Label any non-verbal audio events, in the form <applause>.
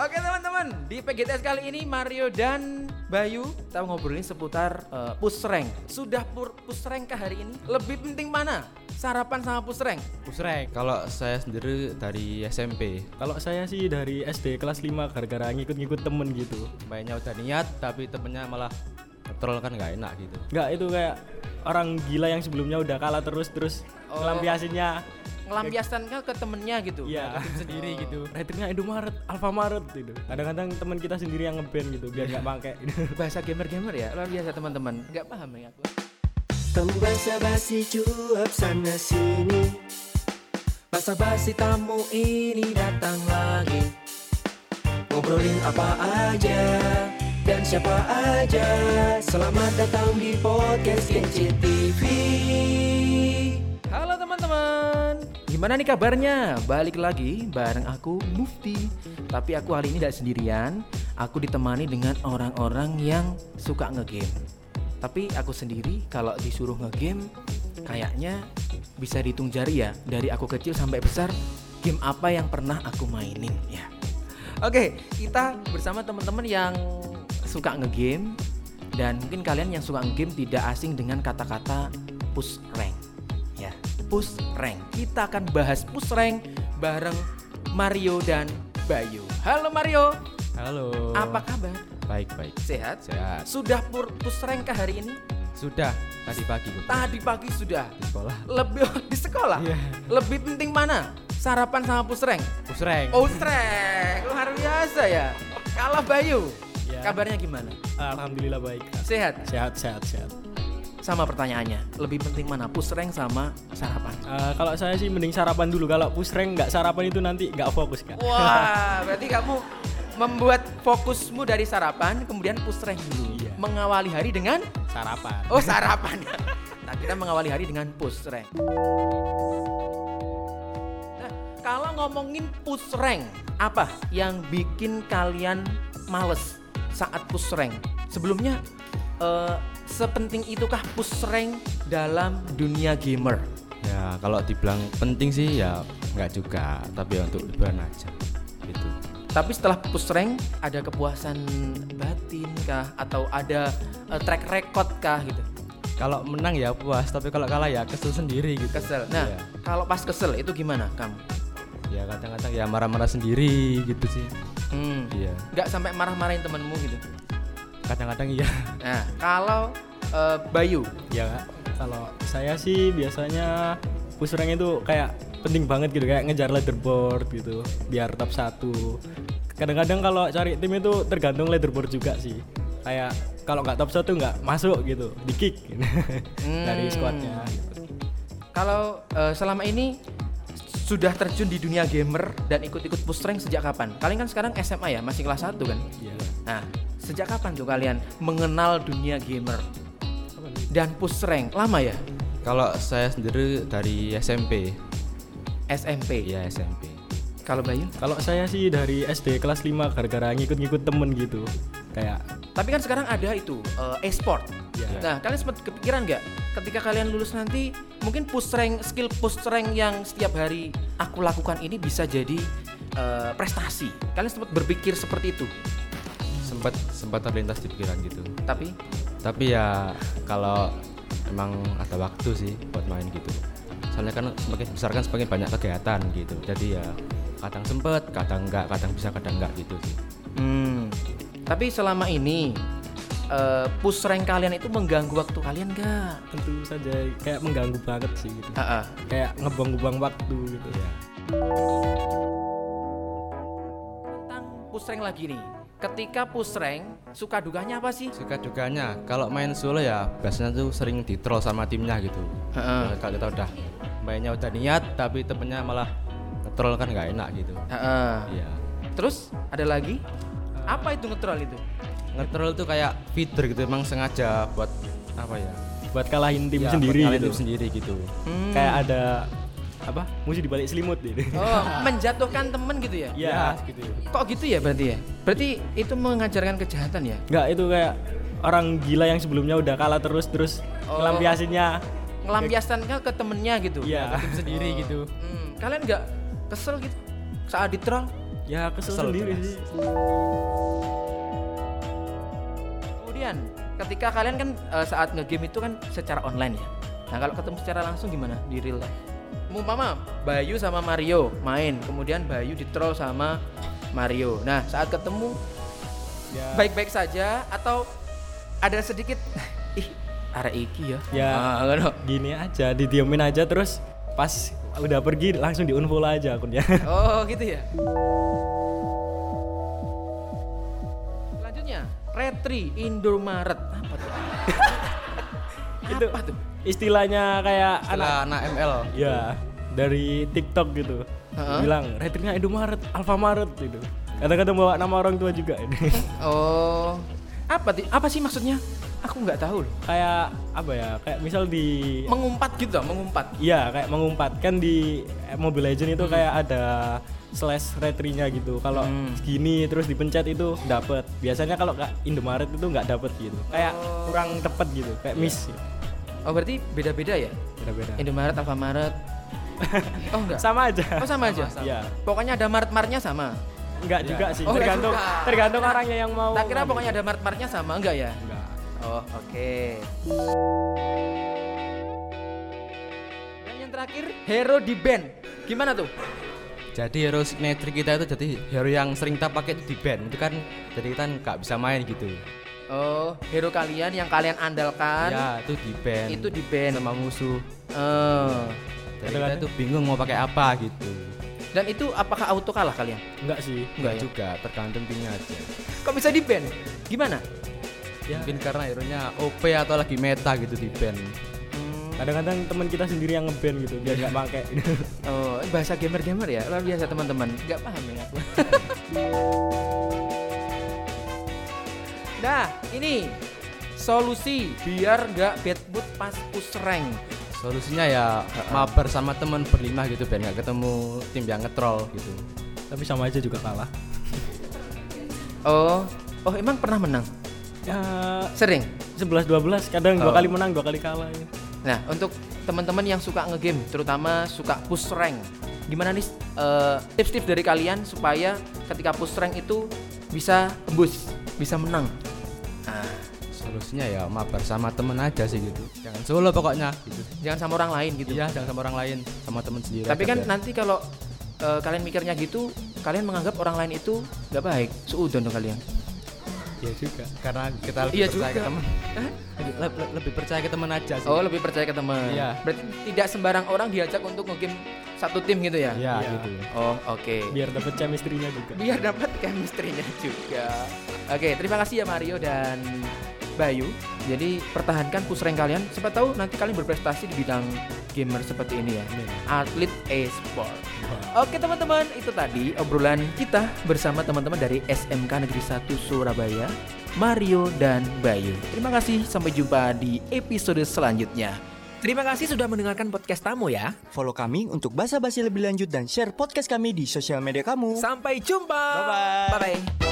Oke teman-teman, di PGTS kali ini Mario dan Bayu kita ngobrolin seputar eh, pusreng. Sudah pur pusreng kah hari ini? Lebih penting mana? Sarapan sama pusreng? Pusrek. Kalau saya sendiri dari SMP, Kalau saya sih dari SD kelas 5 gara-gara ngikut-ngikut temen gitu. mainnya udah niat tapi temennya malah ngetrol kan nggak enak gitu. Nggak itu kayak orang gila yang sebelumnya udah kalah terus terus Oh. ngelampiasinnya Ngelampiaskan kah ke temennya gitu? Iya. <laughs> sendiri gitu. Retritnya Indomaret, Alfamaret gitu. Kadang-kadang teman kita sendiri yang ngeband gitu biar nggak pakai. Bahasa gamer-gamer ya, luar biasa teman-teman. Nggak paham ya aku. Pembasa basi cuap sana sini Basa basi tamu ini datang lagi Ngobrolin apa aja dan siapa aja Selamat datang di podcast Kece TV Halo teman-teman, gimana nih kabarnya? Balik lagi bareng aku Mufti. Tapi aku hari ini tidak sendirian. Aku ditemani dengan orang-orang yang suka ngegame. Tapi aku sendiri kalau disuruh ngegame, kayaknya bisa dihitung jari ya. Dari aku kecil sampai besar, game apa yang pernah aku mainin ya. Oke, kita bersama teman-teman yang suka ngegame dan mungkin kalian yang suka ngegame tidak asing dengan kata-kata push rank. Ya, push rank. Kita akan bahas push rank bareng Mario dan Bayu. Halo Mario, Halo. apa kabar? Baik baik. Sehat? Sehat. Sudah pur push rank kah hari ini? Sudah tadi pagi Bu. Tadi pagi sudah. di sekolah. Lebih <laughs> di sekolah. Iya. Lebih penting mana? Sarapan sama push rank? Pusreng. Oh strek, luar biasa ya. Kalah Bayu. Ya. Kabarnya gimana? <laughs> Alhamdulillah baik. Sehat. Sehat sehat sehat. Sama pertanyaannya, lebih penting mana pusreng sama sarapan? Eh, kalau saya sih mending sarapan dulu. Kalau pusreng nggak sarapan itu nanti nggak fokus kak. Wah, <laughs> berarti kamu membuat fokusmu dari sarapan, kemudian pusreng dulu. Iya. Mengawali hari dengan Sarapan. oh sarapan. <laughs> nah, kita mengawali hari dengan pusreng. Nah, kalau ngomongin pusreng, apa yang bikin kalian males saat pusreng? Sebelumnya eh, sepenting itukah pusreng dalam dunia gamer? Ya kalau dibilang penting sih ya nggak juga, tapi ya untuk liburan aja gitu. Tapi setelah pusreng ada kepuasan batin kah atau ada eh, track record kah gitu? Kalau menang ya puas, tapi kalau kalah ya kesel sendiri gitu. Kesel. Nah, Iya. kalau pas kesel itu gimana kamu? Ya kadang-kadang ya marah-marah sendiri gitu sih. Hmm. Iya. Nggak sampai marah-marahin temenmu gitu. Kadang-kadang <laughs> iya. Nah, kalau eh, Bayu, Ya Kak. kalau saya sih biasanya pusreng itu kayak penting banget gitu kayak ngejar leaderboard gitu biar top satu. Kadang-kadang kalau cari tim itu tergantung leaderboard juga sih. Kayak kalau nggak top satu nggak masuk gitu, di kick gitu. <laughs> dari Hmm. squadnya. Gitu. kalau eh, selama ini sudah terjun di dunia gamer dan ikut-ikut pusreng sejak kapan? Kalian kan sekarang SMA ya, masih kelas 1 kan? Iya. Nah, sejak kapan tuh kalian mengenal dunia gamer dan pusreng? Lama ya? Kalau saya sendiri dari SMP. SMP. Iya SMP. Kalau Bayu? Kalau saya sih dari SD kelas 5 gara-gara ngikut-ngikut temen gitu. Kayak Tapi kan sekarang ada itu eh, e-sport. Iya. Nah, kalian sempat kepikiran nggak ketika kalian lulus nanti mungkin push rank, skill push rank yang setiap hari aku lakukan ini bisa jadi eh, prestasi. Kalian sempat berpikir seperti itu. Sempat sempat terlintas di pikiran gitu. Tapi tapi ya kalau emang ada waktu sih buat main gitu soalnya kan semakin besar kan semakin banyak kegiatan gitu jadi ya kadang sempet kadang enggak kadang bisa kadang enggak gitu sih hmm, tapi selama ini eh, push rank kalian itu mengganggu waktu kalian nggak? tentu saja kayak mengganggu banget sih gitu. Ah, ah. Kayak ngebuang-buang waktu gitu. ya Tentang push rank lagi nih. Ketika push rank, suka dukanya apa sih? suka dukanya kalau main solo ya biasanya tuh sering di troll sama timnya gitu Heeh. Nah, kalau kita udah mainnya udah niat tapi temennya malah ngetrol kan nggak enak gitu Ah, ah. iya Terus ada lagi? Apa itu ngetrol itu? ngetrol tuh kayak feeder gitu emang sengaja buat apa ya Buat kalahin tim Ya, buat sendiri ngalahin gitu. tim sendiri gitu Hmm. kayak ada apa musuh di balik selimut gitu. Oh, menjatuhkan temen gitu <laughs> ya? Iya, gitu. Kok gitu ya berarti ya? Berarti itu mengajarkan kejahatan ya? Enggak itu kayak orang gila yang sebelumnya udah kalah terus terus Oh. ngelampiasinnya. Ngelampiaskan ke, ke temennya gitu? Iya. Hmm, kalian nggak kesel gitu saat di troll? <laughs> ya kesel, Kesel sendiri jelas. sih Kemudian ketika kalian kan eh, saat ngegame itu kan secara online ya. Nah kalau ketemu secara langsung gimana di real life? Umpama Bayu sama Mario main, kemudian Bayu ditroll sama Mario. Nah saat ketemu ya, baik-baik saja atau ada sedikit <laughs> ih arek iki ya. Ya. Ah, ngono. gini aja didiemin aja terus pas udah pergi langsung di unfollow aja akunnya <laughs> Oh gitu ya. Selanjutnya Retri Indomaret apa tuh? <laughs> itu apa tuh? istilahnya kayak anak Anak anak ML. ya dari TikTok gitu Heeh. bilang retrinya Indomaret Alfamaret gitu kadang-kadang bawa nama orang tua juga <laughs> ini Oh apa ti- apa sih maksudnya? Aku nggak tahu loh. kayak apa ya kayak misal di Mengumpat gitu, ah, mengumpat. Iya, kayak mengumpatkan di eh, Mobile Legend itu kayak ada slash retrinya gitu. Kalau Hmm. segini terus dipencet itu dapat. Biasanya kalau nggak Indomaret itu nggak dapat gitu. Kayak kurang tepat gitu, kayak Iya. miss. gitu. Oh berarti beda-beda ya? Beda-beda. Indomaret, <laughs> Alfamaret. Oh enggak. Sama aja. Oh <laughs> sama aja. Iya. Pokoknya ada mart-martnya sama. Enggak juga sih. Oh, nggak tergantung juga. tergantung orangnya yang mau. tak kira pokoknya ada mart-martnya sama enggak ya? Nggak. Oh, oke. Dan yang terakhir, hero di band. Gimana tuh? Jadi hero signature kita itu jadi hero yang sering kita pakai di band itu kan jadi kita nggak bisa main gitu. Oh, hero kalian yang kalian andalkan. Ya itu di band. Kan? Itu di band. sama musuh. Eh, Jadi kita itu bingung mau pakai apa gitu. dan itu apakah auto kalah kalian? Enggak sih. Nggak Enggak juga, tergantung timnya aja. Kok bisa di band? Gimana? Ya. Mungkin karena hero-nya OP atau lagi meta gitu di band. Hmm, Kadang-kadang teman kita sendiri yang ngeband gitu biar nggak <laughs> pakai. Oh, bahasa gamer-gamer ya. Luar biasa teman-teman. Gak paham ya aku. <laughs> nah, ini solusi biar nggak bad mood pas push rank. Solusinya ya mabar sama temen berlima gitu biar nggak ketemu tim yang ngetrol gitu. Tapi sama aja juga kalah. Oh, oh emang pernah menang? Ya Sering. 11 12 kadang Oh. dua kali menang, dua kali kalah. gitu. Nah, untuk teman-teman yang suka ngegame, terutama suka push rank, gimana nih eh, tips-tips dari kalian supaya ketika push rank itu bisa tembus, bisa menang? Nah, Solusinya ya mabar sama temen aja sih gitu. Jangan solo pokoknya gitu. jangan sama orang lain gitu. Iya, jangan sama orang lain, sama temen sendiri. Tapi aja kan biar- nanti kalau eh, kalian mikirnya gitu, kalian menganggap orang lain itu nggak baik. Suudon dong kalian. Iya juga. karena kita lebih percaya ke teman Iya lebih, le- lebih percaya ke teman aja sih Oh, lebih percaya ke teman. Iya. Berarti tidak sembarang orang diajak untuk ngegame satu tim gitu ya? ya Iya. gitu Oh, oke. biar dapet chemistry-nya juga. biar dapat chemistry-nya juga. Oke, terima kasih ya Mario dan Bayu. Jadi pertahankan push rank kalian. Siapa tahu nanti kalian berprestasi di bidang gamer seperti ini ya. Atlet e-sport. Oke teman-teman, itu tadi obrolan kita bersama teman-teman dari SMK Negeri 1 Surabaya, Mario dan Bayu. Terima kasih, sampai jumpa di episode selanjutnya. Terima kasih sudah mendengarkan podcast tamu ya. Follow kami untuk basa-basi lebih lanjut dan share podcast kami di sosial media kamu. Sampai jumpa. Bye-bye. Bye-bye.